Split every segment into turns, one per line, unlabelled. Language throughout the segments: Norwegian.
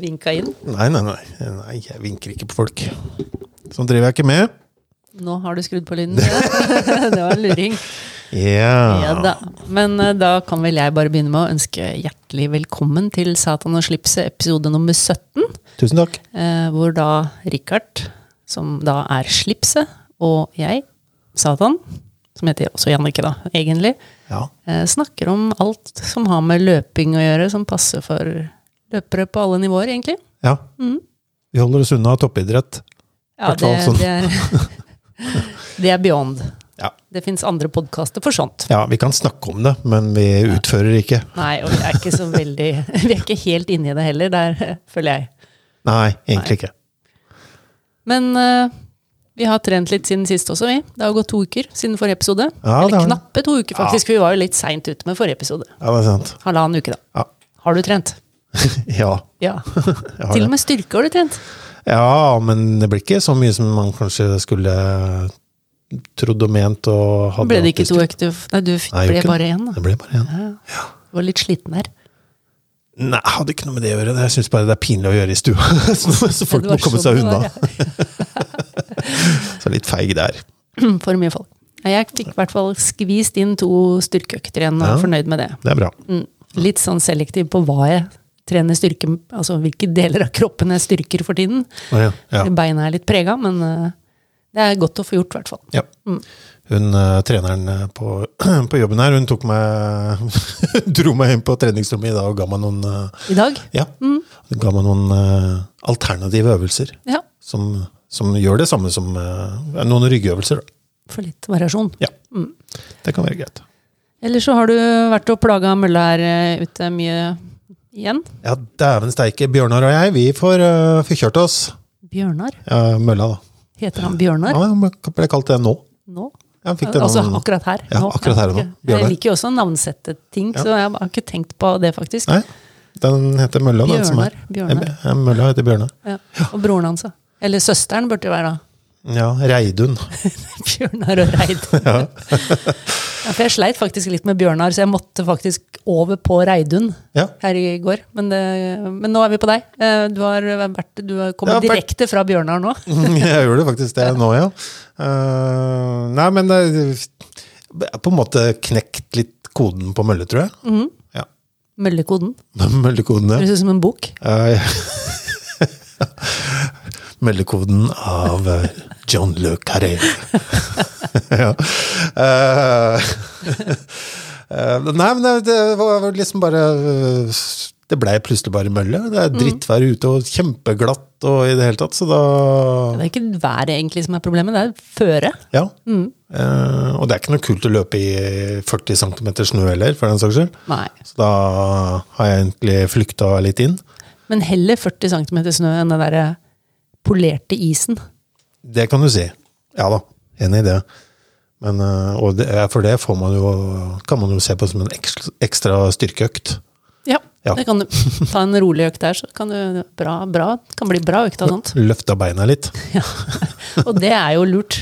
vinka inn.
Nei, nei, nei. nei jeg vinker ikke på folk. Sånn driver jeg ikke med.
Nå har du skrudd på lyden. Ja. det var en luring. Ja
Ja.
da. Men eh, da kan vel jeg bare begynne med å ønske hjertelig velkommen til Satan og slipset episode nummer 17.
Tusen takk.
Eh, hvor da Richard, som da er slipset, og jeg, Satan, som heter også Jannicke, da, egentlig,
Ja.
eh, snakker om alt som har med løping å gjøre, som passer for løpere på alle nivåer, egentlig.
ja.
Mm.
Vi holder oss unna toppidrett.
Ja,
Hvert
det,
fall sånn.
det, er, det er beyond.
Ja.
Det fins andre podkaster for sånt.
ja, vi kan snakke om det, men vi utfører ikke.
Nei, og vi er ikke så veldig Vi er ikke helt inne i det heller, der eh, føler jeg.
Nei, egentlig ikke.
Men eh, vi har trent litt siden sist også, vi. Det har jo gått to uker siden forrige episode.
Ja, det
Eller
har det.
knappe to uker, faktisk. for Vi var jo litt seint ute med forrige episode.
Ja, det er sant.
Halvannen uke, da.
Ja.
Har du trent?
Ja,
Ja.
jeg har
Til og
det.
med styrke har du trent.
ja, men det blir ikke så mye som man kanskje skulle trodd og ment og hadde
Ble det
hatt
ikke
lyst
to
til.
økter? f- Nei, du f-
Nei,
ble
gjorde ikke
bare én, da.
Det ble bare én.
Du var litt sliten her.
Nei, jeg hadde ikke noe med det å gjøre. Jeg syns bare det er pinlig å gjøre i stua. så så folk
Det
må
var
komme
sånn
seg
det var,
unna. så litt feig der.
For mye folk. Nei, Jeg fikk i hvert fall skvist inn to styrkeøkter igjen, og er
Ja.
fornøyd med det.
Det er bra.
Mm. Litt sånn selektiv på hva jeg trener styrke Altså hvilke deler av kroppen jeg styrker for tiden.
Ja, ja.
Beina er litt prega, men eh, det er godt å få gjort, i hvert fall.
ja. Hun eh, treneren eh, på, på jobben her, hun tok meg Dro meg inn på treningsrommet i dag og ga meg noen eh,
I dag?
Ja. Ga meg noen eh, alternative øvelser
Ja.
som, som gjør det samme som eh, noen ryggøvelser. da.
For litt variasjon.
Ja. Det kan være greit.
Eller så har du vært og plaga mølla her eh, ute mye igjen.
Ja, dæven steike. Bjørnar og jeg, vi får eh, forkjørt oss.
Bjørnar.
Ja, mølla, da.
Heter han Bjørnar
Ja, men jeg ble kalt det nå.
nå?
Jeg fikk det
Altså
navnet nå.
akkurat her.
Ja,
nå.
akkurat her og nå.
Jeg
Bjørnar.
liker jo også å navnsette ting, så jeg har ikke tenkt på det, faktisk.
Nei, den heter Mølla. Den som er.
Bjørnar. Bjørnar.
Ja, Mølla heter Bjørnar.
Ja. Og broren hans, da. Eller søsteren burde det være, da.
Ja, Reidun.
Bjørnar og Reidun. ja. for jeg sleit faktisk litt med Bjørnar, så jeg måtte faktisk over på Reidun
Ja.
her i går. Men, det, men nå er vi på deg. Eh, Du har, vært, du har kommet
Jeg har vært-
direkte fra Bjørnar nå.
Jeg gjør det faktisk det nå, ja. Eh, nei, men det jeg har på en måte knekt litt koden på mølle, tror jeg. Ja.
Møllekoden.
Møllekoden, ja.
Høres ut som en bok.
Eh, Meldekoden av eh, John Le Carré. ja. Eh, eh, nei, men det- det var liksom bare eh, Det blei plutselig bare mølle. Det er drittvær ute og kjempeglatt og i det hele tatt, så da
Det er ikke været egentlig som er problemet, det er føret.
Ja. Eh, og det er ikke noe kult å løpe i 40 cm snø heller, for den saks skyld.
Nei.
Så da har jeg egentlig flykta litt inn.
Men heller 40 cm snø enn den derre polerte isen.
Det kan du si. Ja da, enig i det. Men, eh, og det, for det får man jo, kan man jo se på som en ekstra, ekstra styrkeøkt.
Ja,
Ja.
det kan du. Ta en rolig økt der, så kan du bra, bra, kan bli bra økt av sånt.
Løfte beina litt.
Ja. Og det er jo lurt.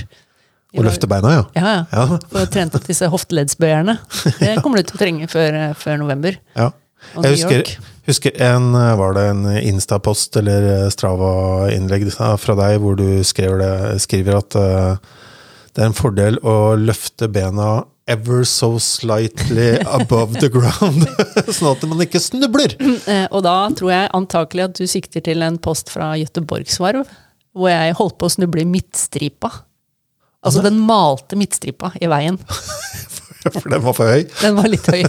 Vi
Og
var-
løfte beina, ja.
Ja, ja.
Ja.
Få trent opp disse hofteleddsbøyerne. Det kommer du til å trenge før, eh, før november.
ja.
Og
Jeg
New York.
husker, husker en, eh, var det en Insta-post eller eh, Strava-innlegg fra deg hvor du skriver, det, skriver at eh, det er en fordel å løfte bena ever so slightly above the ground, sånn at man ikke snubler.
Eh, Og da tror jeg antakelig at du sikter til en post fra Gøteborgsvarv, hvor jeg holdt på å snuble i midtstripa. Altså den malte midtstripa i veien.
For den var for høy.
Den var litt høy.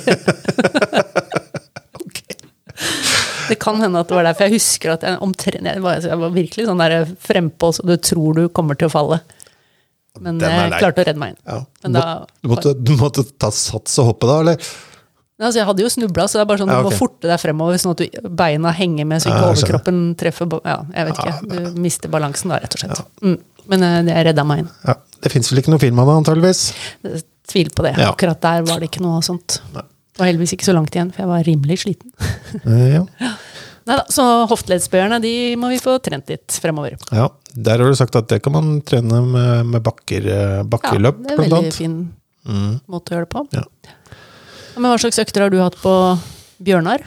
Det kan hende at det var derfor jeg husker at jeg omtrent Jeg var, jeg var virkelig sånn der frempå, så du tror du kommer til å falle. Men
Den er
jeg
lei.
klarte å redde meg inn.
Ja. Du,
Men da-
må, du, måtte, du måtte ta sats og hoppe da, eller?
Nei, Altså, jeg hadde jo snubla, så det er bare sånn du
Ja,
må
ok.
forte deg fremover, sånn at du, beina henger med, så ikke
Ja, jeg skjønner.
overkroppen treffer ba- Ja, jeg vet ikke. Du mister balansen da, rett og slett. Mm. Men eh, det redda meg inn.
Ja, det fins vel ikke noe film av det, antageligvis?
Jeg Tviler på det.
Ja.
Akkurat der var det ikke noe sånt. Det var heldigvis ikke så langt igjen, for jeg var rimelig sliten.
Eh, ja.
Nei da, så hofteleddsbøyerne, de må vi få trent litt fremover.
ja. Der har du sagt at det kan man trene med, med bakker, eh, bakkeløp,
det er
blant
veldig
annet. Mm.
fin måte å gjøre det på.
Ja.
Men hva slags økter har du hatt på Bjørnar?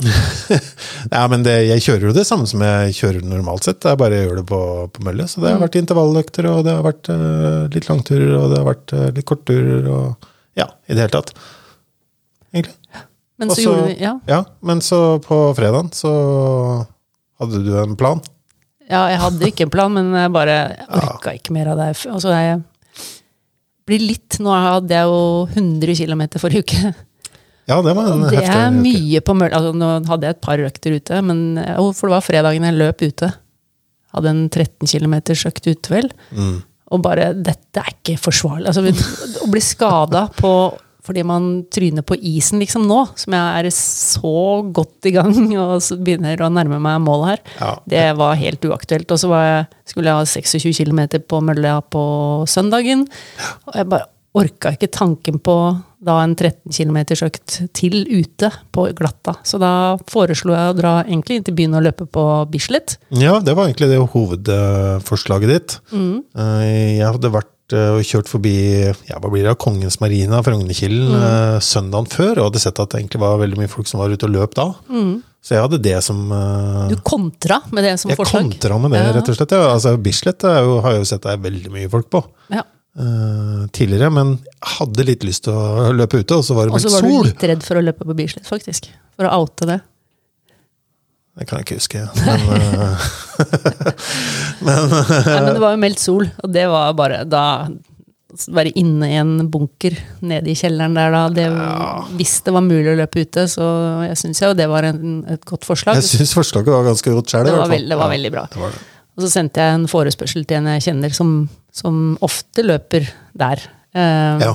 Nei, men det, jeg kjører jo det samme som jeg kjører normalt sett. Jeg bare gjør det på, på mølle. Så
Mm.
det har vært intervalløkter, og det har vært eh, litt langturer, og det har vært eh, litt kortturer, og ja, i det hele tatt. Egentlig.
Men
Og
så
så-
gjorde vi Ja,
Ja, men så på fredagen så hadde du en plan.
ja jeg hadde ikke en plan, men jeg bare jeg orka ikke mer av det. her. Altså, jeg blir litt Nå hadde jeg jo 100 km forrige uke.
Ja, det var en
Det
heftig
er
uke.
mye på mølla. Altså, nå hadde jeg et par økter ute, men, og for det var fredagen jeg løp ute. Hadde en 13 km økt ute, vel.
Mm.
Og bare Dette er ikke forsvarlig. Altså, vi- å bli skada på fordi man tryner på isen liksom nå, som jeg er så godt i gang og så begynner å nærme meg målet her,
Ja.
det var helt uaktuelt. Og så var jeg, skulle jeg ha 26 km på mølla på søndagen. Og jeg bare orka ikke tanken på da en 13 km økt til ute på glatta. Så da foreslo jeg å dra egentlig inn til byen og løpe på Bislett.
Ja, det var egentlig det hovedforslaget ditt.
Mm.
Eh, Jeg hadde vært eh, og kjørt forbi ja, hva blir det, Kongens Marina, Frognerkilen,
Mm.
eh, søndagen før, og hadde sett at det egentlig var veldig mye folk som var ute og løp da. Så jeg hadde det som eh,
Mm. Du kontra med det som
Jeg
forslag.
kontra med det,
Ja.
rett og slett. Ja, altså, Bislett er jo, har jeg jo sett det er veldig mye folk på.
Ja.
eh, tidligere, men jeg hadde litt lyst til å løpe ute, og så var det
Og så Altså,
meldt
var du
sol.
litt redd for å løpe på Bislett, faktisk. For å oute det.
Det kan jeg ikke huske. Men, eh,
Nei, men det var jo meldt sol, og det var bare da Være inne i en bunker nede i kjelleren der da. Det, Hvis det var mulig å løpe ute, så jeg syns jo det var en, et godt forslag.
jeg syns forslaget var ganske godt sjæl.
Det var, veld, det var veldig bra.
det var det.
Og så sendte jeg en forespørsel til en jeg kjenner som, som ofte løper der. Eh,
Ja.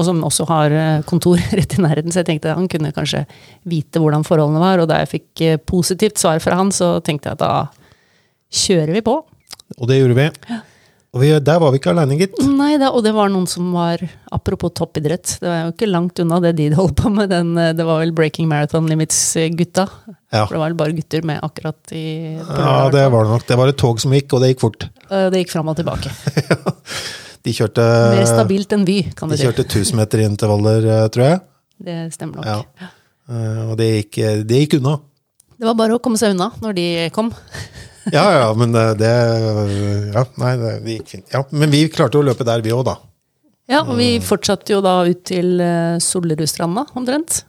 Og som også har eh, kontor rett i nærheten, så jeg tenkte han kunne kanskje vite hvordan forholdene var. Og da jeg fikk eh, positivt svar fra han, så tenkte jeg at da kjører vi på.
Og det gjorde vi. Og vi, der var vi ikke aleine, gitt.
Nei da, og det var noen som var Apropos toppidrett, det var jo ikke langt unna det de holdt på med. Den, eh, det var vel Breaking Marathon Limits-gutta.
Ja.
For det var vel bare gutter med akkurat i på
Ja,
lørdag.
det var det nok. Det var et tog som gikk, og det gikk fort.
Eh, det gikk fram og tilbake.
De kjørte,
Mer stabilt enn Vy, kan du
Eh, de
si.
kjørte 1000 meter i intervaller, eh, tror jeg.
Det stemmer nok.
Ja. Eh, Og det gikk, eh, det gikk unna.
Det var bare å komme seg unna når de kom.
Ja, ja, men eh, det Ja, nei, det det gikk fint. Ja, men vi klarte å løpe der, vi òg, da.
Ja, og
Mm.
vi fortsatte jo da ut til eh, Sollerudstranda, omtrent.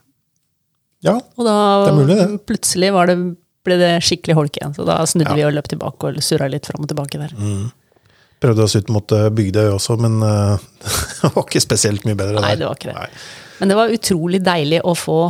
Ja,
Og da
Det er mulig, det.
plutselig var det, ble det skikkelig holk igjen. Så da snudde
Ja.
vi og løp tilbake og surra litt fram og tilbake der.
Prøvde oss ut mot eh, Bygdøy også, men eh, det var ikke spesielt mye bedre.
Nei,
der.
det var ikke det.
Nei.
Men det var utrolig deilig å få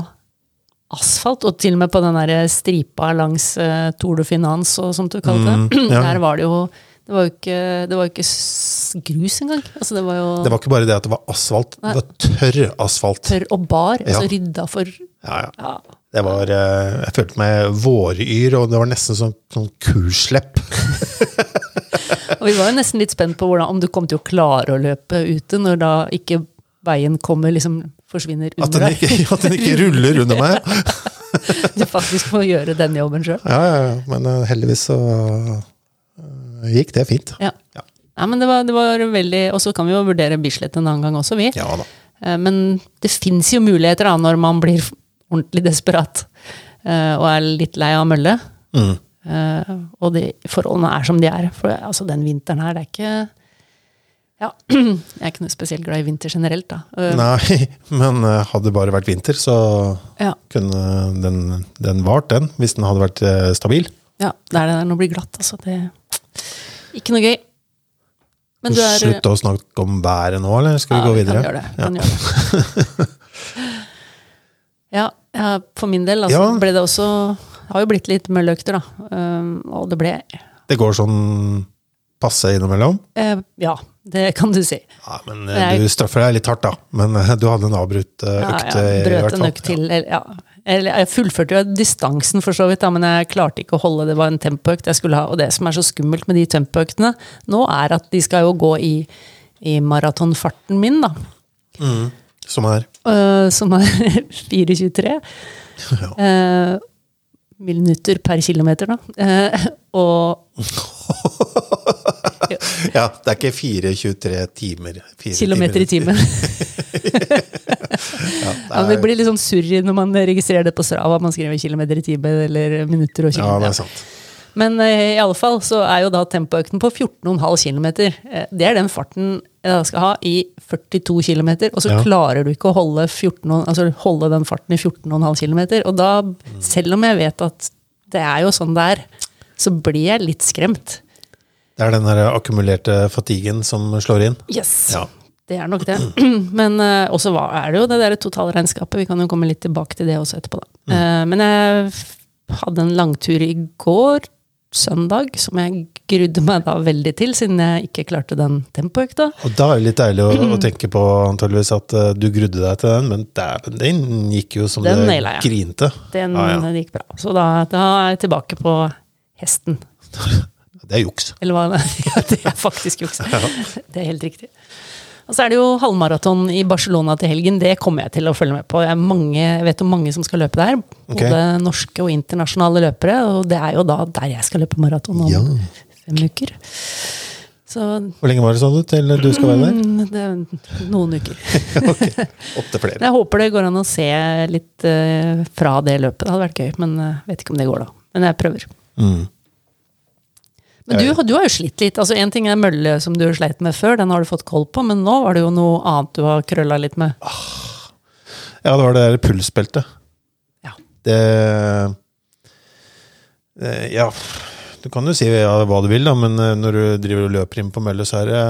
asfalt, og til og med på den der stripa langs eh, Tour de Finance, og som du kalte det.
Mm, ja.
Der var det jo Det var jo ikke, det var jo ikke s- grus engang. Altså, det var jo
Det var ikke bare det at det var asfalt,
Nei.
det var tørr asfalt.
tørr og bar.
Ja.
Altså rydda for
Ja, ja.
ja,
Det var, eh, jeg følte meg våryr, og det var nesten sånn, sånn kuslepp.
Og vi var jo nesten litt spent på hvordan, om du kom til å klare å løpe ute, når da ikke veien kommer, liksom forsvinner
At
under
den
deg.
ikke, at den ikke ruller under meg.
Du faktisk må gjøre den jobben sjøl.
Ja, ja, ja. Men eh, heldigvis så eh, gikk det fint.
Ja.
Ja.
Ja, men det var, det var veldig, Og så kan vi jo vurdere Bislett en annen gang også, vi.
Ja da.
Eh, Men det fins jo muligheter da, når man blir ordentlig desperat eh, og er litt lei av mølle.
Mm.
Eh, og de forholdene er som de er. For altså, den vinteren her, det er ikke Ja, jeg er ikke noe spesielt glad i vinter generelt, da. Eh,
Nei, men eh, hadde det bare vært vinter, så
ja.
kunne den, den vart, den. Hvis den hadde vært eh, stabil.
Ja, det er det der. Nå blir det glatt, altså. Det ikke noe gøy. Men du er
Slutt å snakke om været nå, eller skal vi
Ja,
gå
vi kan
videre?
gjøre det. vi Kan gjøre det. ja, ja, for min del altså,
Ja.
ble det også Det har jo blitt litt mølløkter, da. Um, og det ble
Det går sånn passe innimellom.
eh, Ja, det kan du si.
Ja, men
Det
eh,
er-
Du straffer deg litt hardt, da. Men eh, du hadde en avbrutt eh,
Ja,
økt.
ja,
eh, i hvert
brøt en
fall.
økt til. Eller, ja. eller, jeg fullførte jo distansen, for så vidt, da, men jeg klarte ikke å holde det. Det var en tempoøkt jeg skulle ha. Og det som er så skummelt med de tempoøktene nå, er at de skal jo gå i, i maratonfarten min, da.
Ja, Mm. som er
øh, som er 4,23 eh, minutter per kilometer, da. Eh, og
Ja, det er ikke 4-23 timer. Fire
kilometer i timen. Ja, det blir litt sånn surr når man registrerer det på Strava. Man skriver kilometer i timen eller minutter og
Ja,
kilometer.
det er sant.
Men eh, i alle fall så er jo da tempoøkten på 14,5 km. Eh, Det er den farten jeg da skal ha i 42 km, og så
Ja.
klarer du ikke å holde, 14, og- altså holde den farten i 14,5 km. Og da, selv om jeg vet at det er jo sånn det er, så blir jeg litt skremt.
Det er den der akkumulerte fatiguen som slår inn.
Yes!
Ja.
Det er nok det. Men eh, også hva er det jo det der totalregnskapet? Vi kan jo komme litt tilbake til det også etterpå, da. Eh, men jeg f- hadde en langtur i går, søndag, som jeg grudde meg da veldig til, siden jeg ikke klarte den tempoøkta.
Og da er det litt deilig å, å tenke på antageligvis at eh, du grudde deg til den, men dæven, den gikk jo som
Den
det
naila jeg.
grinte.
Den
Ja, ja.
den gikk bra. Så da, da er jeg tilbake på hesten.
Det er juks.
Eller hva ja, det er faktisk juks. Det er helt riktig. Og så er det jo halvmaraton i Barcelona til helgen. Det kommer jeg til å følge med på. Jeg, er mange, jeg vet om mange som skal løpe der.
Ok.
Både norske og internasjonale løpere. Og det er jo da der jeg skal løpe maraton om
Ja.
fem uker. Så
Hvor lenge var det sånn du til du skal være der?
mm, det er noen uker.
Opp til flere.
Men jeg håper det går an å se litt eh, fra det løpet. Det hadde vært gøy, men eh, vet ikke om det går da. Men jeg prøver.
Mm.
Men
Eh.
du, du har jo slitt litt. Altså Én ting er mølle som du sleit med før, den har du fått koll på, men nå var det jo noe annet du har krølla litt med.
Ah, Ja, det var det der pulsbeltet.
Ja.
Det, det Ja, du kan jo si ja, hva du vil, da, men eh, når du driver og løper inn på mølle, så er det,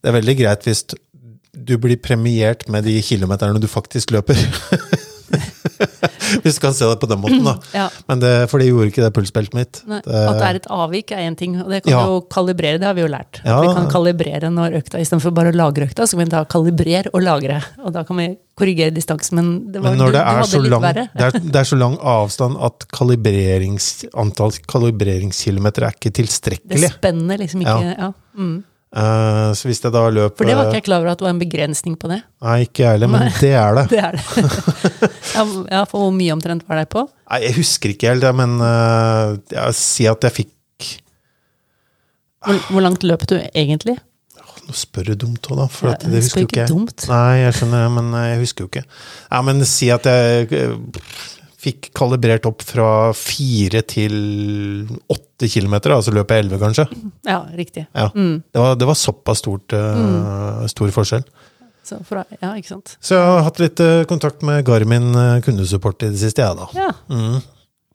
det er veldig greit hvis du blir premiert med de kilometerne du faktisk løper. hvis du kan se det på den måten, da.
Ja.
Men det, for det gjorde ikke det pulsbeltet mitt.
Nei, at det er et avvik er én ting, og det kan
Ja.
du jo kalibrere. Det har vi jo lært. At
Ja.
vi kan kalibrere når økta istedenfor bare å lagre økta, så kan vi da kalibrere og lagre. Og da kan vi korrigere distansen, men det var
Men når
du,
det
du
er,
hadde
så
litt
lang,
verre.
det, er, det er så lang avstand at kalibrerings, antall kalibreringskilometer er ikke
Det
tilstrekkelig.
spenner liksom ikke ja. Mm.
Eh, så hvis jeg da løper
For det var ikke jeg klar over at det var en begrensning på det.
Nei, ikke jeg heller, men
Nei.
det er det.
Det er det. ja, ja, for hvor mye omtrent var det på?
Nei, jeg husker ikke helt, ja, men eh, jeg si at jeg fikk
Hvor, hvor langt løp du egentlig?
Nå spør du dumt òg, da. For at, det
Det
husker
spør
jo ikke
ikke
jeg.
dumt.
Nei, jeg skjønner, men eh, jeg husker jo ikke. Nei, men si at jeg eh, fikk kalibrert opp fra fire til åtte kilometer, da, så løper jeg elleve, kanskje.
Ja, riktig.
Ja.
Mm.
Det var, det var såpass stort, eh, stor forskjell.
Så fra, ja, ikke sant.
Så jeg har hatt litt eh, kontakt med Garmin eh, kundesupport i det siste, jeg, da.
Ja,
Mm.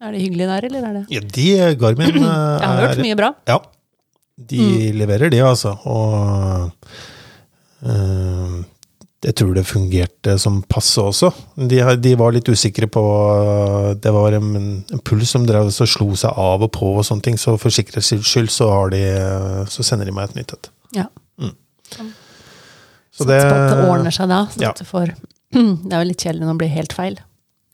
Er det hyggelig der, eller er det
Ja, de eh, Garmin eh,
Jeg har hørt mye bra.
Ja. De leverer det, altså. Og eh, jeg tror det fungerte som passe også. De, har- de var litt usikre på eh, Det var en, en puls som drev og slo seg av og på, og sånne ting, så for sikkerhets skyld så, har de, eh, så sender de meg et nytt et.
Ja.
Så
Satser på at det ordner seg da. Sånn
Ja.
at du får, det er jo litt kjedelig når det blir helt feil.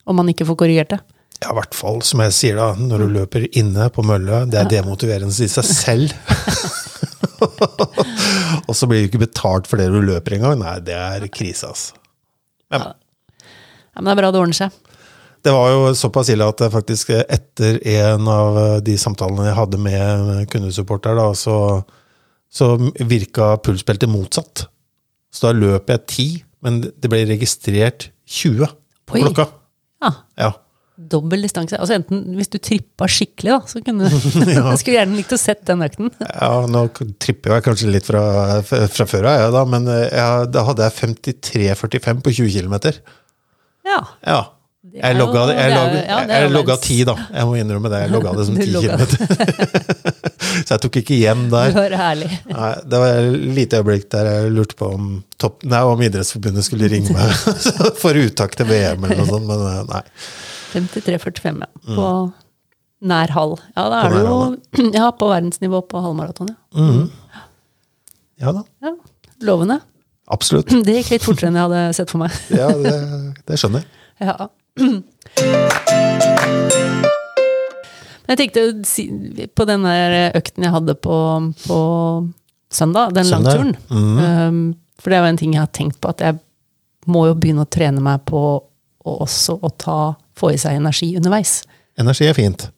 Om man ikke får korrigert det.
Ja, i hvert fall, som jeg sier da, når du løper inne på mølle, det er demotiverende i seg selv. og så blir du ikke betalt for det du løper engang. Nei, det er krise, altså.
Ja, men det er bra det ordner seg.
Det var jo såpass ille at jeg faktisk eh, etter en av eh, de samtalene jeg hadde med kundesupport her, da, så, så virka pulsbeltet motsatt. Så da løp jeg 10, men det ble registrert 20 på
Oi.
klokka.
Ja,
Ja.
Dobbel distanse. Altså enten Hvis du trippa skikkelig, da, så kunne du Jeg skulle gjerne likt å sett den økten.
ja, nå k- tripper jeg kanskje litt fra, fra før av, jeg da, men eh, jeg, da hadde jeg 53,45 på 20 km.
Ja.
Ja.
Det er
Jeg
jo-
logga, det-
det
jeg
er jo-
logga,
ja, det er
jeg
jo
logga
verdens-
10, da. Jeg må innrømme det. Jeg logga det som
Du
10
logga
km. Så jeg tok ikke igjen der.
Det var herlig.
Nei, det var et lite øyeblikk der jeg lurte på om, topp, nei, om Idrettsforbundet skulle ringe meg for uttak til VM eller noe sånt, men eh, nei.
53,45, ja. På nær halv. Ja, da
Mm.
er du
På nær
jo ja, på verdensnivå på halvmaraton, ja.
Mhm. Ja da,
ja. Lovende.
absolutt.
Det gikk litt fortere enn jeg hadde sett for meg.
Ja, det, det skjønner jeg.
Ja. Men Jeg tenkte si- på den der økten jeg hadde på, på søndag, den
Søndag? Mm.
langturen.
Mhm.
Um, for det er jo en ting jeg har tenkt på, at jeg må jo begynne å trene meg på å også å ta, få i seg energi underveis.
Energi er fint.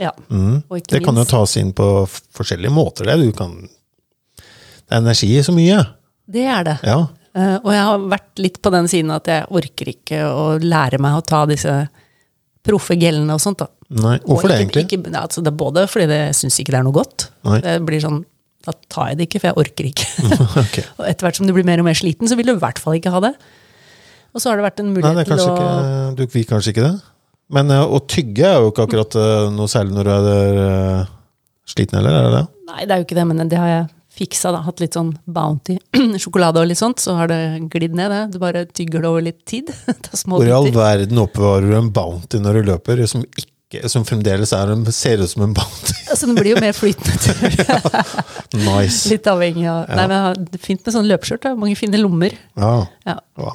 Ja. Og ikke
Mm. Det kan jo
minst.
tas inn på f- forskjellige måter. Det, du kan, det er energi i så mye.
Det er det.
Ja.
Eh, og jeg har vært litt på den siden at jeg orker ikke å lære meg å ta disse proffe gellene og sånt. da.
Nei,
Og
Hvorfor det,
ikke-
egentlig?
Ikke, ja, altså det er både fordi det- jeg syns ikke det er noe godt.
Nei.
Det blir sånn, Da tar jeg det ikke, for jeg orker ikke.
Ok.
og etter hvert som du blir mer og mer sliten, så vil du i hvert fall ikke ha det. Og så har det vært en
Nei, det
mulighet
er
til
kanskje ikke,
å
du vil kanskje ikke det. Men eh, å tygge er jo ikke akkurat eh, noe særlig når du er eh, sliten heller, er det det?
Nei, det er jo ikke det, men det har jeg fiksa. da, Hatt litt sånn Bounty sjokolade og litt sånt, så har det glidd ned. det. Du bare tygger det over litt tid. Det er små
Hvor i all
biter.
verden oppbevarer du en bounty når du løper, som, ikke, som fremdeles er en, ser ut som en bounty?
Altså, det blir jo mer flytende. tror jeg.
Nice.
Litt avhengig av Nei, men jeg har- det er Fint med sånn løpeskjørt. da. Mange fine lommer.
Ja.
Ja.
ja.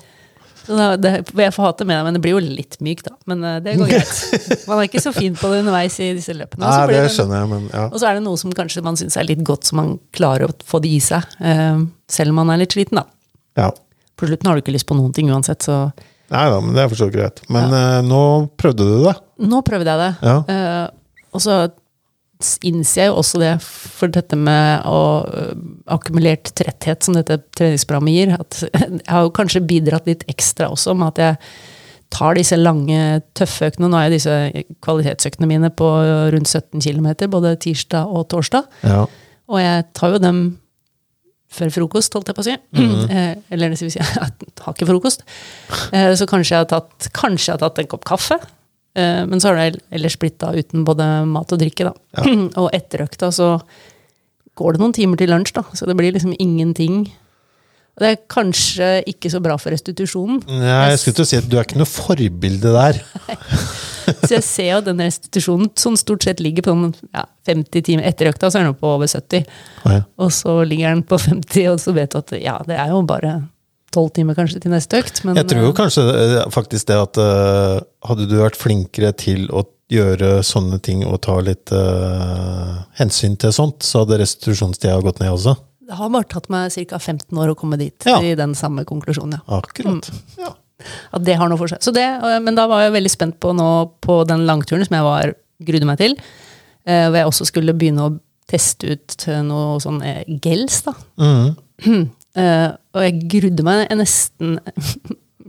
Så da, det, jeg får hate med deg, men det blir jo litt myk, da. Men eh, det går greit. Man er ikke så fin på det underveis i disse løpene.
Nei,
Og så blir
det
det-
skjønner jeg, men ja.
Og så er det noe som kanskje man syns er litt godt, så man klarer å få det i seg. eh, selv om man er litt sliten, da.
ja.
På slutten har du ikke lyst på noen ting uansett, så
Nei da, men det er for så vidt greit. Men eh, nå prøvde du det.
nå prøvde jeg det.
Ja.
Eh, og så innser jeg jo også det, for dette med å, eh, akkumulert tretthet som dette treningsprogrammet gir, at jeg har jo kanskje bidratt litt ekstra også med at jeg tar disse lange, tøffe øktene. Nå er jo disse kvalitetsøktene mine på rundt 17 km, både tirsdag og torsdag.
Ja.
Og jeg tar jo dem før frokost, holdt jeg på å si. Eh, Eller det vil si, jeg har ikke frokost. Eh, Så kanskje jeg har tatt, kanskje jeg har tatt en kopp kaffe. Eh, Men så har det ellers blitt da uten både mat og drikke, da. Og etter økta så går det noen timer til lunsj, da. Så det blir liksom ingenting. Og Det er kanskje ikke så bra for restitusjonen.
Nei, jeg skulle til å si at du er ikke noe forbilde der.
Så jeg ser jo at den restitusjonen som stort sett ligger på den, ja, 50 timer etter økta, så er den oppe på over 70.
Nei.
Og så ligger den på 50, og så vet du at ja, det er jo bare tolv timer kanskje til neste økt. Men
Jeg tror jo kanskje eh, faktisk det at eh, hadde du vært flinkere til å gjøre sånne ting og ta litt eh, hensyn til sånt, så hadde restitusjonstida gått ned også.
eh, det har bare tatt meg ca. 15 år å komme dit,
Ja.
i den samme konklusjonen. ja.
Akkurat.
Mm.
Ja.
At det har noe for seg. Så det, eh, men da var jeg veldig spent på nå på den langturen som jeg var, grudde meg til. eh, Hvor jeg også skulle begynne å teste ut eh, noe sånn eh, gels, da.
Mhm.
Eh, og jeg grudde meg nesten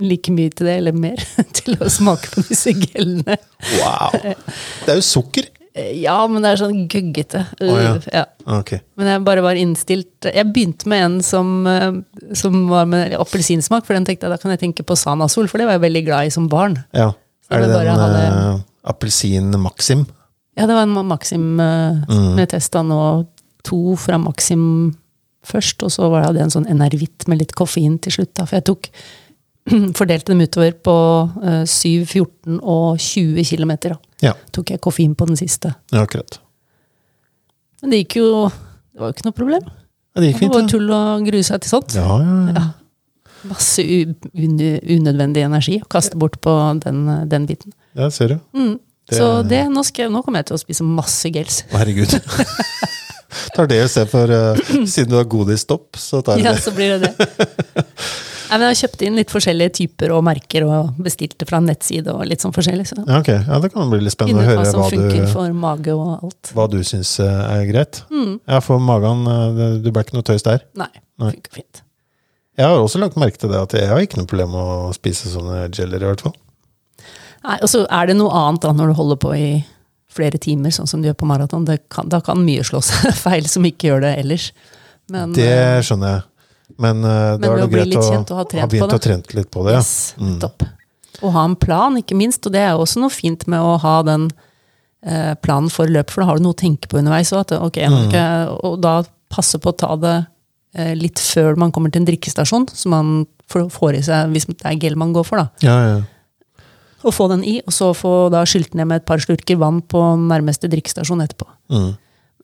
like mye til det, eller mer, til å smake på disse gelene.
Wow! Det er jo sukker!
Eh, Ja, men det er sånn guggete.
Å,
ja.
Ok.
Men jeg bare var innstilt Jeg begynte med en som, eh, som var med appelsinsmak, for den tenkte jeg da kan jeg tenke på Sanasol, for det var jeg veldig glad i som barn.
Ja.
Så
er det
det
den
bare hadde-
eh, appelsin-maxim?
Ja, det var en Maxim eh,
Mm.
som jeg testa nå. To fra Maxim først, og så var det, hadde jeg en sånn Enervit med litt koffein til slutt. Da, for jeg tok Fordelte dem utover på eh, 7, 14 og 20 km. Da
Ja,
tok jeg koffein på den siste.
ja, akkurat.
Men det gikk jo Det var jo ikke noe problem.
Ja, det
Det
gikk
var bare
fint, det.
tull å grue seg til sånt.
Ja, ja, ja.
Masse u- un- unødvendig energi å kaste bort på den, den biten.
ja, ser du. Det-
Så det, nå, skal, jeg- nå kommer jeg til å spise masse gels.
Å, herregud. tar det istedenfor uh, Siden du har godisstopp, så tar du
Ja,
det.
så blir det det. Nei, men jeg har kjøpt inn litt forskjellige typer og merker og bestilt det fra en nettside og litt sånn forskjellig. Så
Ja, ok. ja, det kan bli litt spennende
finne ut hva
å høre
som
hva
funker
du
for Mm. mage og alt.
hva du syns eh, er greit. Ja, for magen eh, det- Du ble ikke noe tøys der.
Nei,
Nei.
funker fint.
Jeg har også lagt merke til det, at jeg har ikke noe problem med å spise sånne jellier, i hvert fall.
Nei, og så er det noe annet da når du holder på i flere timer, sånn som du gjør på maraton. Det kan- Da kan mye slå seg feil som ikke gjør det ellers. Men, eh,
Det skjønner jeg. Men eh,
Men
da er
ved
det
å bli
greit
litt
å
kjent og ha
ha,
trent på
begynt
det.
å trene litt på det. Ja.
eh, Yes,
Mm.
nettopp. Og ha en plan, ikke minst. Og det er jo også noe fint med å ha den eh, planen for løp, for da har du noe å tenke på underveis også, at, ok, nå skal jeg- Og da passe på å ta det eh, litt før man kommer til en drikkestasjon, så man får får i seg, hvis det er gel man går for, da.
Ja, ja.
Og få den i, og så få da skylt ned med et par slurker vann på nærmeste drikkestasjon etterpå.
Mm.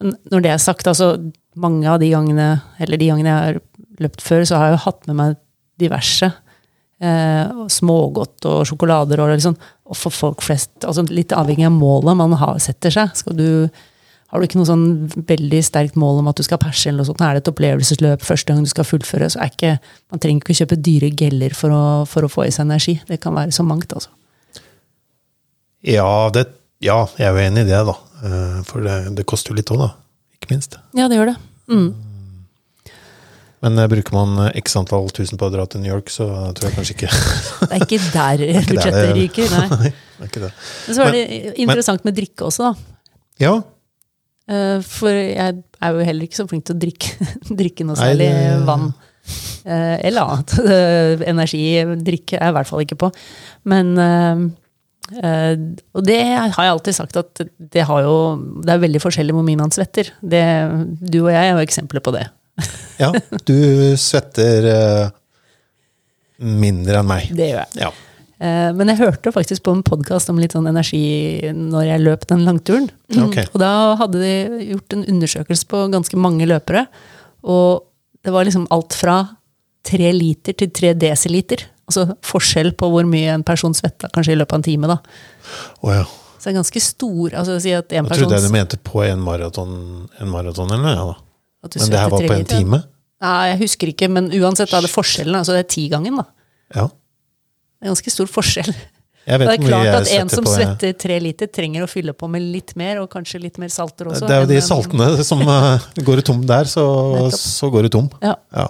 N- Når det er sagt, altså mange av de gangene, eller de gangene jeg har løpt før, så har jeg jo hatt med meg diverse. Eh, og smågodt og sjokolader og liksom. Og for folk flest, altså litt avhengig av målet man har, setter seg. Skal du, har du ikke noe sånn veldig sterkt mål om at du skal perse eller noe sånt, er det et opplevelsesløp første gang du skal fullføre, så er ikke, man trenger ikke kjøpe dyre geller for å, for å få i seg energi. Det kan være så mangt, altså.
Ja, det, ja, jeg er jo enig i det, da.
Mm.
Eh, For det, det koster jo litt òg, da. Ikke minst.
Ja, det gjør det. Mm.
Men eh, bruker man eh, x antall tusen på å dra til New York, så eh, tror jeg kanskje ikke
Det er ikke der
ikke der
budsjettet
det-
ryker. Nei.
det er ikke det.
Men så var det interessant med drikke også, da.
Ja,
Eh, For jeg er jo heller ikke så flink til å drikke, drikke noe
Nei,
særlig
det-
vann. Eh, Eller annet. Eh, Energi, drikke er jeg i hvert fall ikke på. Men eh, eh, Og det har jeg alltid sagt at det, har jo, det er veldig forskjellig hvor mye man svetter. Det, du og jeg er jo eksempler på det.
ja du svetter eh, mindre enn meg.
Det gjør jeg.
Ja.
Eh, Men jeg hørte faktisk på en podkast om litt sånn energi når jeg løp den langturen.
Mm. Ok.
Og da hadde de gjort en undersøkelse på ganske mange løpere. Og det var liksom alt fra tre liter til tre desiliter. Altså forskjell på hvor mye en person svetta kanskje i løpet av en time. da.
Å ja.
Så det er ganske stor altså å si at en
Da trodde jeg du
persons
mente på en maraton, en maraton eller noe, ja, da.
at du
Men det her
svetter
var
tre
på en
liter.
time?
Nei, jeg husker ikke, men uansett da er det forskjellen. altså Det er tigangen, da.
Ja.
Det er ganske stor forskjell.
Jeg vet
Det er
hvor mye
klart
jeg
at en som
på, jeg.
svetter tre liter, trenger å fylle på med litt mer, og kanskje litt mer salter også.
Det er jo de
enn en-
saltene som eh, går du tom der, så,
Nettopp.
så går du tom.
Ja.
Ja.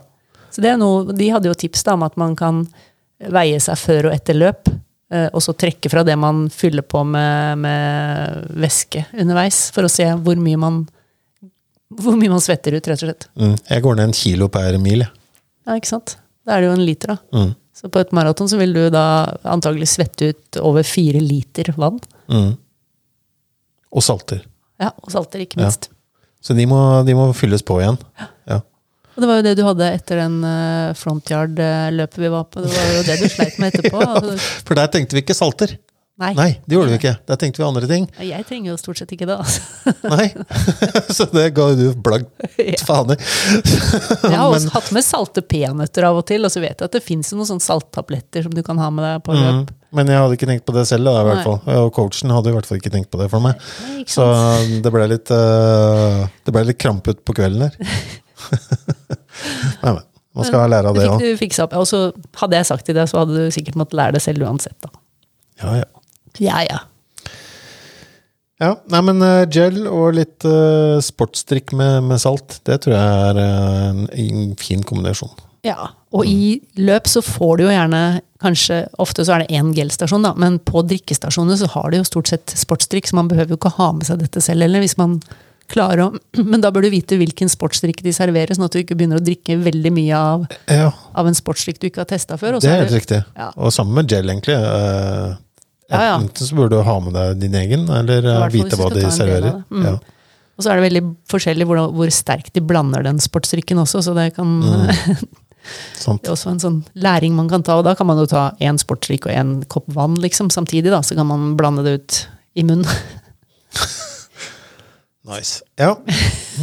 Så det er noe, De hadde jo tips da, om at man kan veie seg før og etter løp, eh, og så trekke fra det man fyller på med, med væske underveis, for å se hvor mye man hvor mye man svetter ut, rett og slett.
Mm. Jeg går ned en kilo per mil, jeg.
Ja, ikke sant? Da er det jo en liter, da.
Mm.
Så på et maraton så vil du da antagelig svette ut over fire liter vann.
Mm. Og salter.
Ja, Og salter, ikke
Ja.
minst.
Så de må, de må fylles på igjen. Ja.
Og det var jo det du hadde etter den eh, frontyard-løpet vi var på. Det var jo det du sleit med etterpå. Altså,
For der tenkte vi ikke salter.
Nei.
Nei, det gjorde vi ikke. Der tenkte vi andre ting.
Jeg trenger jo stort sett ikke det. Altså.
Nei. Så det ga jo du blankt
Ja.
faen i.
Jeg har
Men-
også hatt med salte peanøtter av og til, og så vet jeg at det fins noen sånne salttabletter som du kan ha med deg på
Mm.
løp.
Men jeg hadde ikke tenkt på det selv, da, i hvert
Nei.
fall. og coachen hadde i hvert fall ikke tenkt på det for meg.
Nei, ikke
Så
sant?
det ble litt, eh, det ble litt krampet på kvelden der. Nei, men man skal lære av
Det
det
fikk
òg.
du fiksa opp. Og så hadde jeg sagt til deg, så hadde du sikkert måttet lære det selv uansett, da.
Ja, ja.
Ja, ja.
ja, nei, men eh, gel og litt eh, sportsdrikk med, med salt, det tror jeg er eh, en, en fin kombinasjon.
Ja, og i løp så får du jo gjerne kanskje, Ofte så er det én gelstasjon, da, men på drikkestasjoner så har de jo stort sett sportsdrikk, så man behøver jo ikke ha med seg dette selv heller. hvis man klarer å... Men da bør du vite hvilken sportsdrikk de serverer, sånn at du ikke begynner å drikke veldig mye av,
Ja,
av en sportsdrikk du ikke har testa før. Og så
det er
er
helt
det,
riktig.
Ja.
Og sammen med gel, egentlig. eh,
Ja, ja.
Enten så burde du ha med deg din egen, eller eh,
hvert fall hvis
vite
du
hva
skal ta
de
en del
serverer.
av det. Mm.
Ja.
og så er det veldig forskjellig hvor, hvor sterkt de blander den sportsdrikken også, så det kan
Mm. Sant.
Det er også en sånn læring man kan ta, og da kan man jo ta én sportsdrikk og én kopp vann liksom, samtidig. da, Så kan man blande det ut i munnen.
Nice. Ja.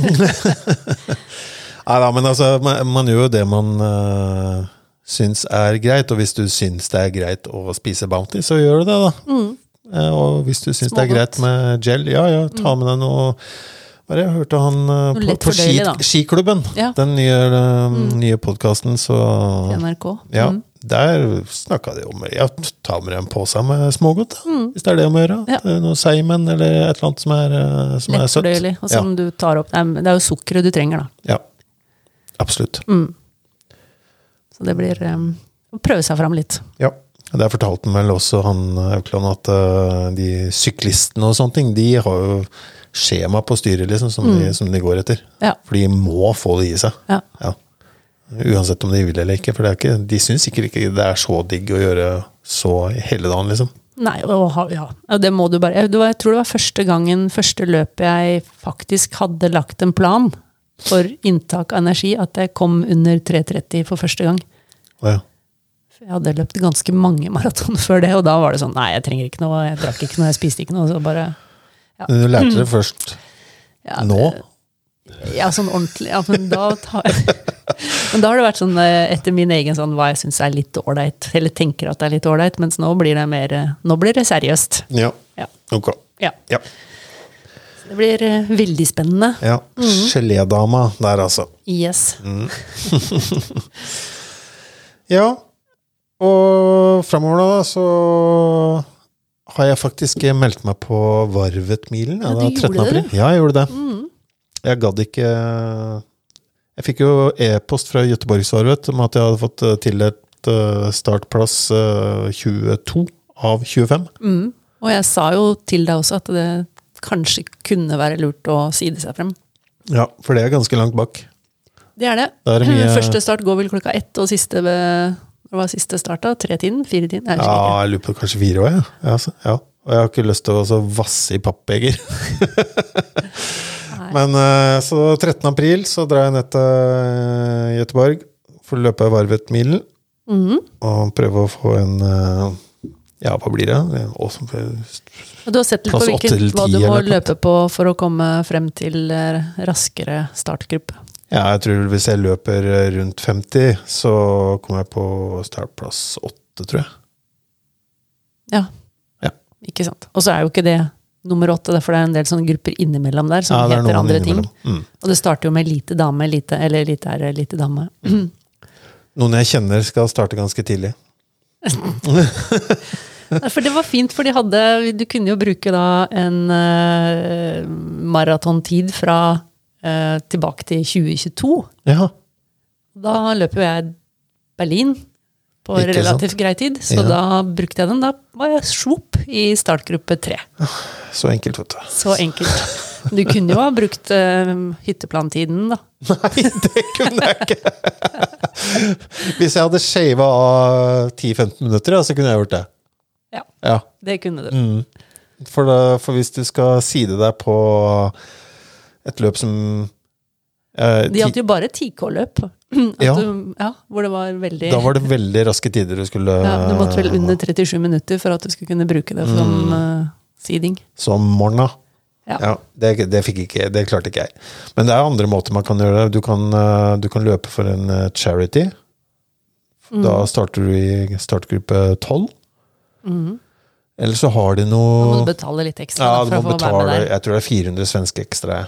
Nei da, men altså, man, man gjør jo det man øh, syns er greit, og hvis du syns det er greit å spise Bounty, så gjør du det, da. Eh, og hvis du syns det
Mm. Smågodt.
er
Mm.
greit med gel, ja ja, ta med deg noe Hva er det jeg hørte han øh,
Noe
på,
lett
på ski,
fordøyelig, da.
Skiklubben?
Ja. Mm.
Den nye, øh, nye podkasten, så
NRK. Mm.
ja, der snakka de om Ja, ta med deg en pose med smågodt, da, hvis det er det om å gjøre.
Mm. Ja.
Det er Noe seigmenn eller et eller annet som er, eh, som er søtt.
Lettfordøyelig. Og som du tar opp. Nei, men Det er jo sukkeret du trenger, da.
Ja. Absolutt.
Mm. Så det blir um, å prøve seg fram litt.
Ja. Der fortalte han vel også han Aukland at eh, de syklistene og sånne ting, de har jo skjema på styret liksom, som, de,
Mm.
som de går etter.
Ja.
For de må få det i seg.
Ja.
Ja. Uansett om de vil eller ikke. For det er ikke, de syns sikkert ikke det er så digg å gjøre så hele dagen, liksom.
Nei, og, ha- ja. Ja, det må du bare jeg, det var, jeg tror det var første gangen, første løpet jeg faktisk hadde lagt en plan for inntak av energi, at jeg kom under 3.30 for første gang.
Ja.
For Jeg hadde løpt ganske mange maraton før det, og da var det sånn Nei, jeg trenger ikke noe, jeg drakk ikke noe, jeg spiste ikke noe. Så bare
Men du
Mm.
lærte det først
ja,
nå.
Ja, sånn ordentlig. Ja, men da tar Men da har det vært sånn eh, etter min egen sånn hva jeg syns er litt ålreit, eller tenker at det er litt ålreit, mens nå blir det mer eh, Nå blir det seriøst.
Ja.
Ja.
Ok.
ja.
Ja.
Så Det blir eh, veldig spennende.
ja. Gelédama der, altså.
Yes.
Ja, og framover da, så har jeg faktisk meldt meg på Varvet-milen.
Ja, du
det er
gjorde Mm.
13. april.
det,
Ja, jeg gjorde det. Jeg gadd ikke Jeg fikk jo e-post fra Göteborgsvarvet om at jeg hadde fått eh, tildelt eh, startplass eh, 22 av 25.
Mm. Og jeg sa jo til deg også at det kanskje kunne være lurt å side seg frem.
Ja, for det er ganske langt bak.
Det er det.
Da er det mye-
Første start går vel klokka ett, og siste ved hva var siste start da? Tre-tiden? Fire-tiden? Jeg husker
Ja, jeg lurer på kanskje fire år, ja. Ja, altså, ja. Og jeg har ikke lyst til å så vasse i pappbeger.
Nei.
Men eh, så 13. april så drar jeg ned til eh, Göteborg for å løpe Varvet-milen.
ikke. Mhm.
Og prøve å få en eh, Ja, hva blir det? En ås-
Og du har sett litt på
Plass åtte
hvilken,
eller
hva
ti
du må
eller noe.
løpe på for å komme frem til eh, raskere startgruppe.
Ja, jeg tror hvis jeg løper eh, rundt 50, så kommer jeg på startplass 8, tror jeg.
Ja.
Ja.
Ikke sant. Og så er jo ikke det nummer åtte, da, for det er en del sånne grupper innimellom der som
Ja, det er
heter
noen
andre ting.
innimellom. Mm.
Og det starter jo med lite dame, lite eller lite herre, lite dame.
Noen jeg kjenner skal starte ganske tidlig.
Ja, For det var fint, for de hadde Du kunne jo bruke da en eh, maratontid fra eh, tilbake til 2022.
Ja,
Da løper jo jeg Berlin på
Ikke sant?
relativt grei tid, så
Ja.
da brukte jeg den. Da var jeg svopp i startgruppe tre.
så enkelt, vet du.
Så enkelt. Du kunne jo ha brukt eh, hytteplantiden, da.
Nei, det kunne jeg ikke! Hvis jeg hadde shava av 10-15 minutter, ja, så kunne jeg gjort det.
Ja,
Ja.
det kunne du.
Mm. For, da, for hvis du skal side deg på et løp som eh,
Det gjaldt jo bare 10K-løp. At
Ja.
du- ja, hvor det var veldig
Da var det eh, veldig raske tider du skulle
ja, Du måtte vel under 37 minutter for at du skulle kunne bruke det som
Mm.
eh, seeding.
som morgena.
Ja.
sånn Ja. det, det, fikk ikke, det klarte ikke jeg. Men det er andre måter man kan gjøre det. Du kan, eh, du kan løpe for en eh, charity.
Mm.
Da starter du i startgruppe 12. Eller så har de
Mhm. Da må
noe
du betale litt ekstra
ja,
da,
du
for
må
å få være
betale,
med der.
Jeg tror det er 400 svenske ekstra.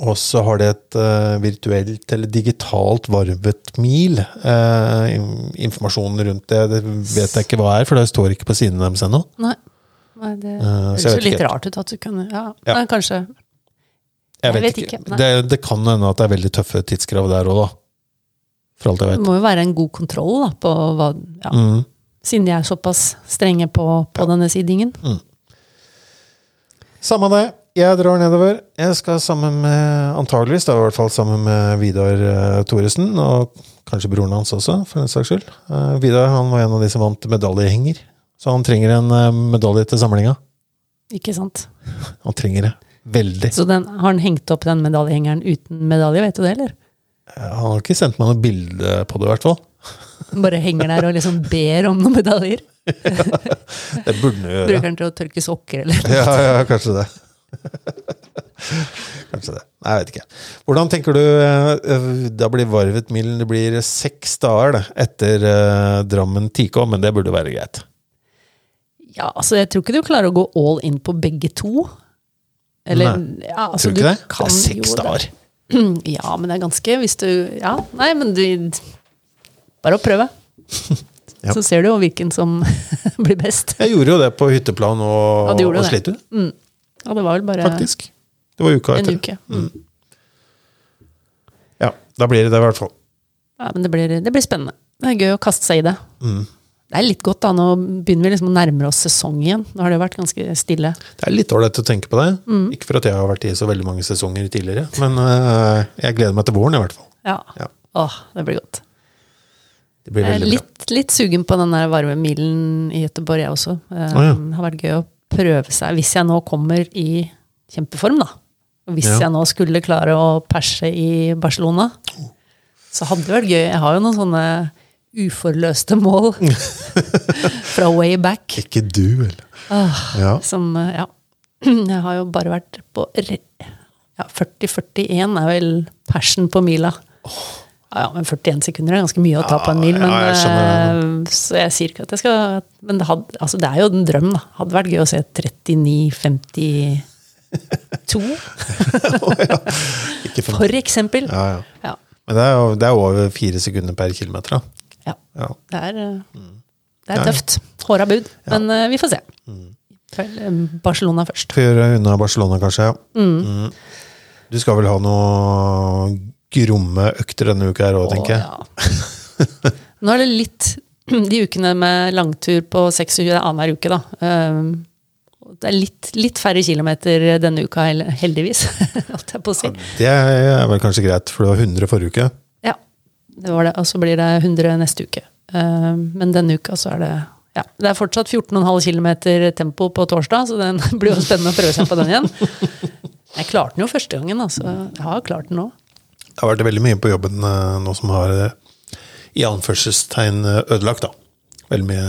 Og så har de et eh, virtuelt eller digitalt varvet mil. eh, in- informasjonen rundt det, det vet jeg ikke hva er, for det står ikke på siden deres ennå. Eh,
Nei, Nei det høres
så jeg
jo
vet
litt
ikke.
rart ut at du kunne ja.
Ja.
Nei, kanskje. Jeg vet ikke, nei.
Det, det kan hende at det er veldig tøffe tidskrav der òg, da. For alt jeg
Det
vet.
må jo være en god kontroll da, på hva ja.
Mm.
Siden de er såpass strenge på, på denne sidingen.
Samme det. Jeg drar nedover. Jeg skal sammen med, antageligvis da i hvert fall sammen med Vidar eh, Thoresen, og kanskje broren hans også, for den saks skyld. Eh, Vidar han var en av de som vant medaljehenger, så han trenger en eh, medalje til samlinga.
Ikke sant?
Han trenger det veldig.
Så den, har han hengt opp den medaljehengeren uten medalje, vet du det, eller?
Eh, Han har ikke sendt meg noe bilde på det, i hvert fall.
Han Bare henger der og liksom ber om noen medaljer?
Det burde han jo gjøre.
Bruker han til å tørke sokker, eller?
Ja, ja, kanskje det. kanskje det. Nei, jeg vet ikke. Hvordan tenker du eh, Da blir Varvet Milen Det blir seks dager det, etter eh, Drammen 10K, men det burde være greit.
Ja, altså jeg tror ikke du klarer å gå all in på begge to. Eller, ja, altså,
tror du ikke det?
du kan
det er
jo
seks
det.
dager.
Ja, men det er ganske Hvis du Ja, nei, men du Bare å prøve.
Ja.
Så ser du jo hvilken som blir best.
Jeg gjorde jo det på hytteplan og,
Ja, du gjorde
og
det.
Slitu,
Ja, det var vel bare
faktisk. Det var uka
en
etter.
uke. Mm.
Ja, da blir det det, i hvert fall.
Ja, men det blir, det blir spennende. Det er gøy å kaste seg i det.
Mm.
Det er litt godt, da. Nå begynner vi liksom å nærme oss sesong igjen. Nå har det jo vært ganske stille.
Det er litt ålreit å tenke på det.
Mm.
Ikke for at jeg har vært i så veldig mange sesonger tidligere, men eh, jeg gleder meg til våren, i hvert fall.
Ja.
Ja.
Åh, det blir godt.
Det blir
Jeg er
veldig bra.
litt, litt sugen på den der varme milen i Göteborg, jeg også. Eh,
ja.
Det har vært gøy å prøve seg, hvis jeg nå kommer i kjempeform, da. Og hvis
Ja.
jeg nå skulle klare å perse i Barcelona, så hadde det vært gøy. Jeg har jo noen sånne uforløste mål fra way back.
Ikke du, eller? Ja.
Som, eh, ja. Jeg har jo bare vært på re- ja, 40-41 er vel persen på mila. Ja, ja, men 41 sekunder er ganske mye å ta på en mil.
Ja,
Men,
jeg skjønner.
eh, så jeg sier ikke at jeg skal Men det, hadde, altså, det er jo en drøm, da. Hadde vært gøy å se 39-52,
Ikke for
for eksempel.
Ja, ja.
Ja.
Men det er, jo, det er jo over fire sekunder per kilometer, da.
ja.
Ja.
Det er, eh, det
Mm. Ja, Mm.
er
ja.
tøft. Håra bud. Men eh, vi får se. Vel, eh, Barcelona først.
Før unna Barcelona, kanskje. ja. Mm. Du skal vel ha noe gromme økter denne uka her òg, tenker jeg.
Å, ja. Nå er det litt de ukene med langtur på 26 det er annenhver uke, da. Ehm, og det er litt, litt færre kilometer denne uka, hel- heldigvis. Holdt jeg på å si.
Det er vel kanskje greit, for det var 100 forrige uke.
Ja, det var det. Og så blir det 100 neste uke. Ehm, men denne uka så er det ja, Det er fortsatt 14,5 km tempo på torsdag, så den blir jo spennende å prøve seg på den igjen. Jeg klarte den jo første gangen, altså. Jeg har klart den nå.
Det har vært veldig mye på jobben eh, nå som har eh, i anførselstegn eh, ødelagt, da. Veldig mye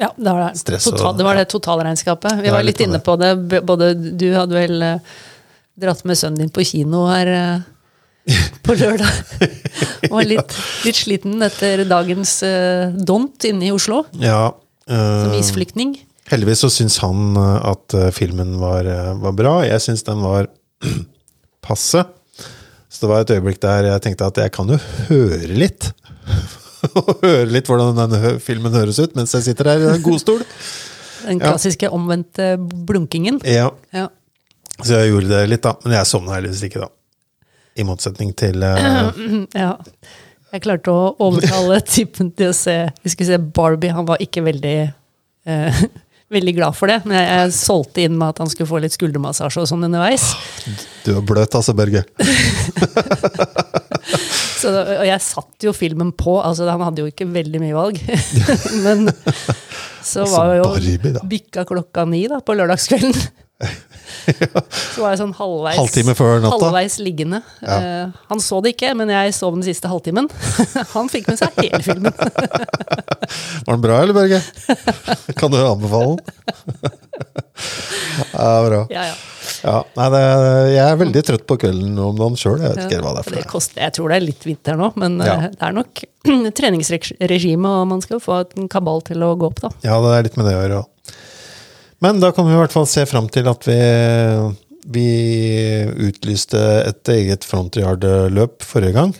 Ja, det var det,
Stress og-
total, det, var det totalregnskapet. Vi
Det er
var
litt
litt
av
inne
det.
på det. B- Både du hadde vel eh, dratt med sønnen din på kino her eh, på lørdag. var litt, litt sliten etter dagens eh, dont inne i Oslo,
Ja. eh,
som isflyktning.
heldigvis så syns han eh, at eh, filmen var, eh, var bra. Jeg syns den var passe. Så det var et øyeblikk der jeg tenkte at jeg kan jo høre litt. Og høre litt hvordan den hø- filmen høres ut mens jeg sitter her i en godstol.
Den
Ja.
klassiske omvendte blunkingen.
Ja,
Ja.
så jeg gjorde det litt, da. Men jeg sovna heldigvis ikke, da. I motsetning til eh,
ja. Jeg klarte å overtale typen til å se Vi skulle se Barbie. Han var ikke veldig eh, Veldig glad for det, men jeg, jeg solgte inn med at han skulle få litt skuldermassasje og sånn underveis.
Du er bløt, altså, Børge.
Så, da- og jeg satte jo filmen på, altså han hadde jo ikke veldig mye valg. Men så
Altså,
var jo
Barbie, da.
bikka klokka ni da, på lørdagskvelden. Så var jeg sånn halvveis,
Halvtime før natta.
halvveis liggende.
Ja.
Eh, han så det ikke, men jeg sov den siste halvtimen. han fikk med seg hele filmen.
Var den bra, eller, Børge? Kan du anbefale den? Ja, bra.
Ja, ja.
Ja, nei, det, jeg er veldig trøtt på kvelden om dagen sjøl. Jeg vet ikke hva det er for
Det
det.
koster, jeg tror det er litt vinter nå, men eh,
Ja.
det er nok treningsregime, og man skal jo få en kabal til å gå opp, da.
Ja, det er litt med det å gjøre. ja. Men da kan vi i hvert fall se fram til at vi, vi utlyste et eget frontyard-løp forrige gang.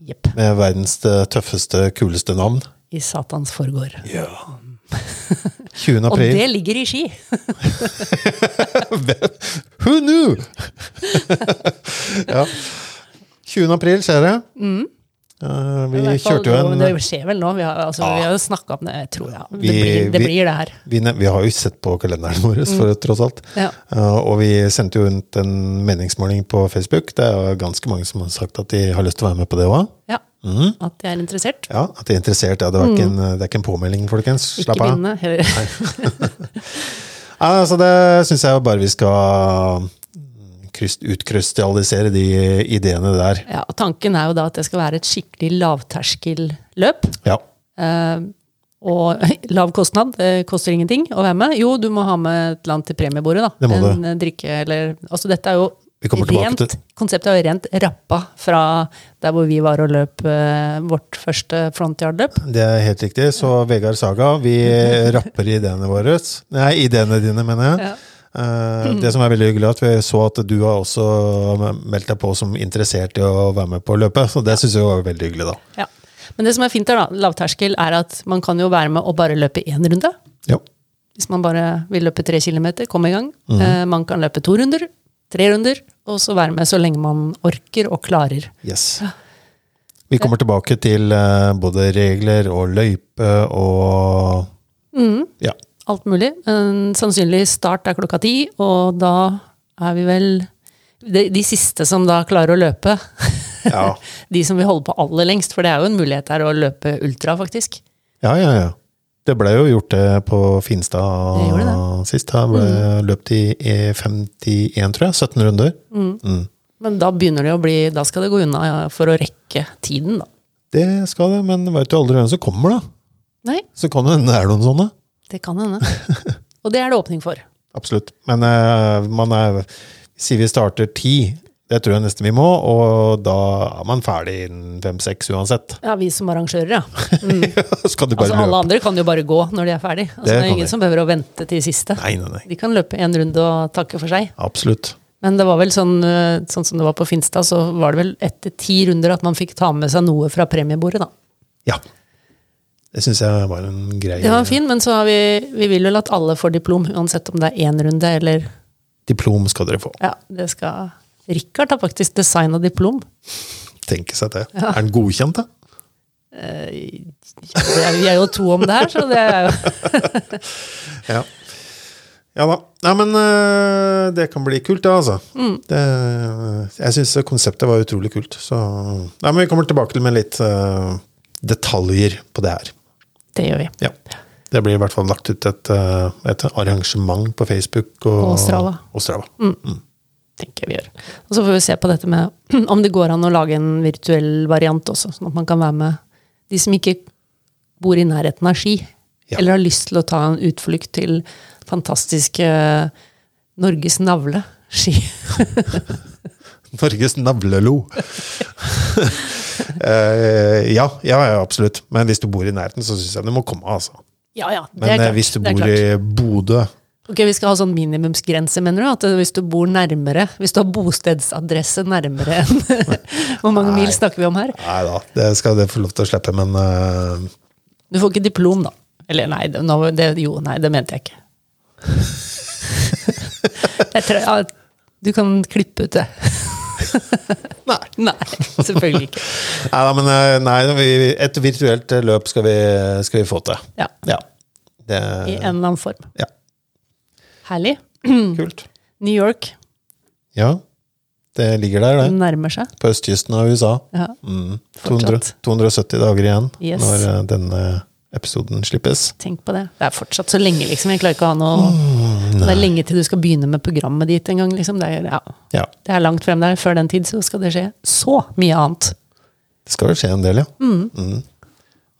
Jepp.
Med verdens eh, tøffeste, kuleste navn.
I satans forgård.
Ja. 20.
Og
april.
det ligger i Ski!
Who knew? ja. 20. april skjer det. Eh, vi
Mm. I hvert fall
kjørte jo
nå-
en
Det skjer vel nå. Vi har, altså, vi har jo snakka om det, jeg tror jeg. Det, blir, det
vi-
blir det her.
vi, ne- vi har jo sett på kalenderen vår, for tross alt.
Mm. Ja.
Eh, og vi sendte jo rundt en meningsmåling på Facebook. Det er jo ganske mange som har sagt at de har lyst til å være med på det òg.
Ja.
Mhm.
At jeg er interessert.
Ja, at de er interessert. Ja, det, var ikke en, det er ikke en påmelding, folkens.
Mm. Ikke
Slapp av.
bindende. heller.
Ja, altså det syns jeg jo bare vi skal mm, kryst, utkrystallisere de ideene der.
Ja, og tanken er jo da at det skal være et skikkelig lavterskelløp.
Ja.
Eh, og lav kostnad. Det koster ingenting å være med. Jo, du må ha med et eller annet til premiebordet, da.
Det må du.
en eh, drikke eller Altså dette er jo
Vi kommer tilbake
rent,
til-
Konseptet er jo rent rappa fra der hvor vi var og løp eh, vårt første frontyard-løp.
Det er helt riktig. Så Vegard Saga, vi rapper ideene våre. Nei, ideene dine, mener jeg.
Ja.
Eh, Det som er veldig hyggelig, er at vi så at du har også meldt deg på som interessert i å være med på løpet. Så det syns jeg var veldig hyggelig, da.
Ja. Men det som er fint her, da, lavterskel, er at man kan jo være med og bare løpe én runde.
Ja.
Hvis man bare vil løpe tre kilometer, komme i gang. Eh, man kan løpe to runder, tre runder, og så være med så lenge man orker og klarer.
Yes. Vi kommer tilbake til eh, både regler og løype og
Mm.
Ja.
Alt mulig. En sannsynlig start er klokka ti, og da er vi vel de, de siste som da klarer å løpe.
Ja.
de som vil holde på aller lengst, for det er jo en mulighet her å løpe ultra, faktisk.
Ja, ja, ja. Det ble jo gjort det på
Det Mm.
Finstad
gjorde
sist. Da ble løpt i i 51, tror jeg. 17 runder. Mm.
Men da begynner det å bli Da skal det gå unna ja, for å rekke tiden, da.
Det skal det, men veit du aldri hvem som kommer, da?
Nei,
Så kan det hende det er noen sånne.
Det kan hende. Og det er det åpning for.
Absolutt. Men eh, man er Sier vi starter ti, det tror jeg nesten vi må, og da er man ferdig innen fem-seks uansett.
Ja, vi som arrangører, ja.
skal du
Mm.
bare
Altså, alle
løpe?
andre kan jo bare gå når de er ferdig. Altså,
Det
det,
kan
er ingen
de.
som behøver å vente til siste.
Nei, nei, nei.
De kan løpe en runde og takke for seg.
Absolutt.
Men det var vel sånn, eh, sånn som det var på Finstad, så var det vel etter ti runder at man fikk ta med seg noe fra premiebordet, da.
Ja. Det syns jeg var en grei
Det var fint, men så har vi, vi vil vel at alle får diplom, uansett om det er én runde eller
Diplom skal dere få.
Ja, det skal Richard har faktisk designa diplom.
tenke seg det. Er den godkjent, da?
Eh, det er- Vi er jo to om det her, så det er jo
Ja. Ja da. Nei, men øh, det kan bli kult, det, altså.
Mm.
Det, jeg syns konseptet var utrolig kult. Så Nei, men vi kommer tilbake til med litt øh, detaljer på det her.
Det gjør vi.
Ja. Det blir i hvert fall lagt ut et, øh, et arrangement på Facebook
Og
og,
Strava.
og Strava.
Mm. tenker jeg vi gjør. Og så får vi se på dette med om det går an å lage en virtuell variant også, sånn at man kan være med de som ikke bor i nærheten av Ski,
Ja.
eller har lyst til å ta en utflukt til fantastiske eh, Norges navle, Ski.
Norges navlelo. Eh, ja, ja, ja, absolutt. Men hvis du bor i nærheten, så syns jeg du må komme. altså.
Ja, ja, det
Men
er
eh,
klart.
hvis du
det er
bor
klart.
i Bodø
Ok, Vi skal ha sånn minimumsgrense, mener du? At eh, hvis du bor nærmere, hvis du har bostedsadresse nærmere enn Hvor mange mil snakker vi om her?
Nei da, det skal det få lov til å slippe, men eh,
Du får ikke diplom, da. Eller nei, det, nå, det, jo, nei, det mente jeg ikke. jeg tror, ja, du kan klippe ut det. nei. selvfølgelig ikke.
Nei, da, men eh, nei, vi- et virtuelt eh, løp skal vi, skal vi få til.
Ja,
Ja. Det,
I en eller annen form.
Ja.
Herlig. Mm.
Kult.
New York
Ja, det ligger der, det.
nærmer seg.
På østkysten av USA.
Ja.
Mm.
Fortsatt.
200, 270 dager igjen
Yes.
når eh, denne episoden slippes.
Tenk på det. Det er fortsatt så lenge, liksom. Jeg klarer ikke å ha noe Det er lenge til du skal begynne med programmet ditt en gang, liksom. Det er, ja.
Ja,
det er langt frem der. Før den tid så skal det skje så mye annet.
det skal vel skje en del, ja.
Mm.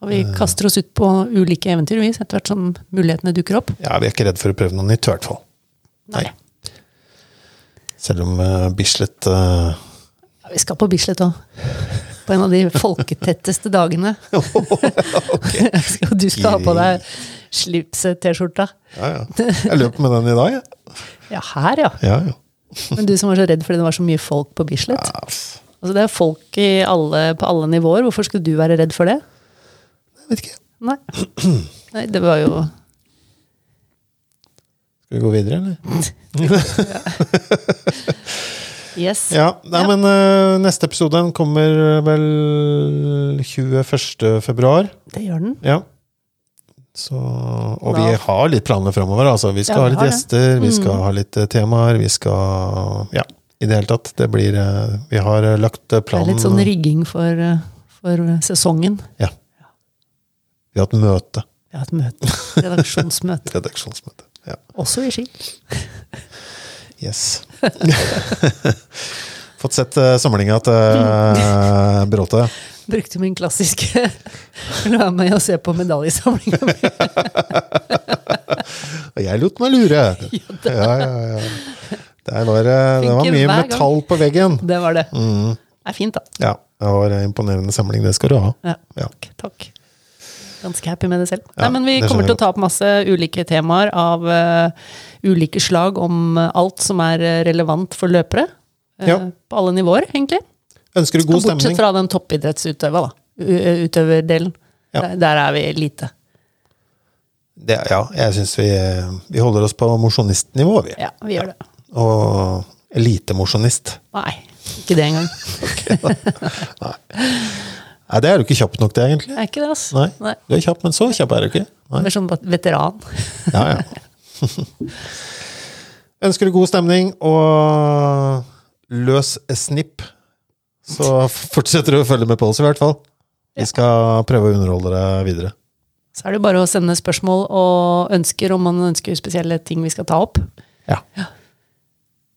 Og vi kaster oss ut på ulike eventyr, vi, etter hvert som mulighetene dukker opp.
Ja, Vi er ikke redd for å prøve noe nytt, i hvert fall.
Nei.
Nei. Selv om eh, Bislett eh,
Ja, vi skal på Bislett òg. På en av de folketetteste dagene.
Oh,
Skal- du skal ha på deg slips-T-skjorta.
Ja, ja. Jeg løp med den i dag, jeg.
Ja, her, ja.
Ja, ja.
Men du som var så redd fordi det var så mye folk på Bislett.
Ja, f-
Altså, det er folk i alle, på alle nivåer. Hvorfor skulle du være redd for det?
Jeg vet ikke.
Nei. Nei, det var jo
Skal vi gå videre, eller?
Yes.
Ja, nei,
Ja.
men eh, neste episode den kommer vel 21. februar.
Det gjør den.
Ja. Så, og
Da-
vi har litt planer framover. Altså. Vi skal
Ja,
ha
vi
litt
har det. Mm.
gjester, vi skal ha litt eh, temaer, vi skal Ja, i det hele tatt. Det blir eh, Vi har eh, lagt eh,
Det er
planen
litt sånn rigging for, eh, for sesongen.
Ja. Vi har hatt møte.
Vi har et møte. Redaksjonsmøte.
Redaksjonsmøte. Ja.
Også i Ski.
Yes. Fått sett eh, samlinga til eh, Bråte.
Brukte min klassiske Vil du være med og se på medaljesamlinga mi?
Og jeg lot meg lure. Ja, ja, ja. Der var, det- det var
Funker hver
mye
gang.
metall på veggen.
Det var det.
Mm.
Det er fint, da.
Ja, det var en imponerende samling. Det skal du ha.
Ja.
Ja.
Takk, takk. Ganske happy med det selv.
Ja,
Nei, men Vi
det
kommer
skjønner
til å ta opp masse ulike temaer av eh, ulike slag om eh, alt som er eh, relevant for løpere. eh,
Ja.
På alle nivåer, egentlig.
Ønsker du god
Bortsett
stemning?
fra den toppidrettsutøva, da. U- eh, Utøverdelen.
Ja.
Der, der er vi lite.
Det, ja, jeg syns vi, eh, vi holder oss på mosjonistnivå, vi.
Ja, vi gjør det.
Og elitemosjonist.
Nei, ikke det engang.
Nei, det er du ikke kjapp nok til, egentlig.
Det er ikke det, altså.
Nei. Du er kjapp, men så kjapp er du ikke. Nei.
Mer som veteran.
Ja, ja. Ønsker du god stemning og løs snipp, så fortsetter du å følge med på oss, i hvert fall. Vi skal prøve å underholde deg videre.
Så er det jo bare å sende spørsmål og ønsker om man ønsker spesielle ting vi skal ta opp.
Ja.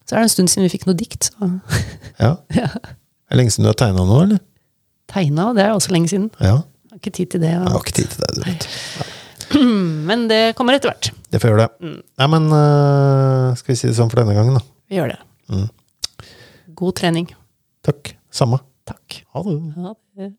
Så er det en stund siden vi fikk noe dikt. Så.
ja.
Ja.
Er det lenge siden du har tegna nå, eller?
Tegna, det er også lenge siden.
Ja.
Jeg har ikke tid til det.
Jeg
Ja.
har ikke tid til deg, du vet.
Men det kommer etter hvert.
Det får gjøre det. Nei, men øh, skal vi si det sånn for denne gangen, da.
Vi gjør det. God trening.
Takk. Samme.
Takk.
Ha det.
Ha det.